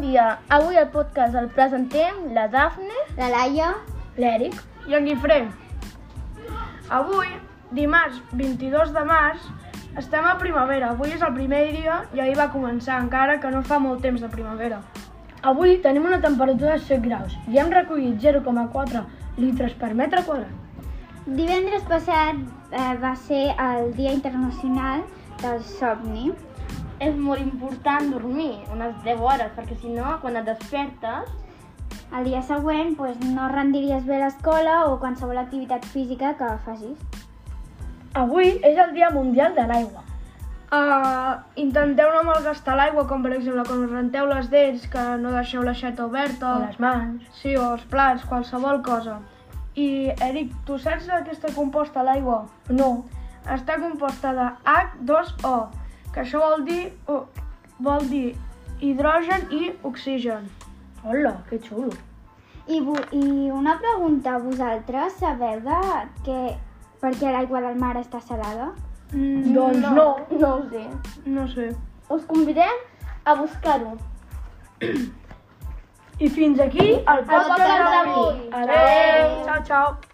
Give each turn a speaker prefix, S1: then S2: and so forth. S1: dia. Avui el podcast el presentem la Dafne,
S2: La Laia,
S1: l'Eric.
S3: I en Guifré. Avui, dimarts 22 de març, estem a primavera. Avui és el primer dia i ahir va començar, encara que no fa molt temps de primavera.
S1: Avui tenim una temperatura de 7 graus i hem recollit 0,4 litres per metre quadrat.
S2: divendres passat eh, va ser el Dia Internacional del Somni.
S4: és molt important dormir unes 10 hores, perquè si no, quan et despertes,
S2: El dia següent pues, no rendiries bé l'escola o qualsevol activitat física que facis.
S1: Avui és el Dia Mundial de l'Aigua.
S3: Uh, intenteu no malgastar l'aigua, com per exemple quan us renteu les dents, que no deixeu l'aixeta oberta.
S1: O les mans.
S3: Sí, o els plats, qualsevol cosa. I, Eric, tu saps de què està composta l'aigua?
S1: No.
S3: Està composta de H2O, que això vol dir, oh, vol dir hidrogen i oxigen.
S1: Hola, que xulo.
S2: I, vo- i una pregunta, vosaltres sabeu de que, per què l'aigua del mar està salada?
S3: Mm,
S1: Doncs no.
S4: no ho sé.
S3: No sé.
S4: Us convidem a um. buscar-ho.
S3: I fins aquí el
S4: podcast
S3: podcast
S4: d'avui.
S3: d'avui. Adéu. Ciao, ciao.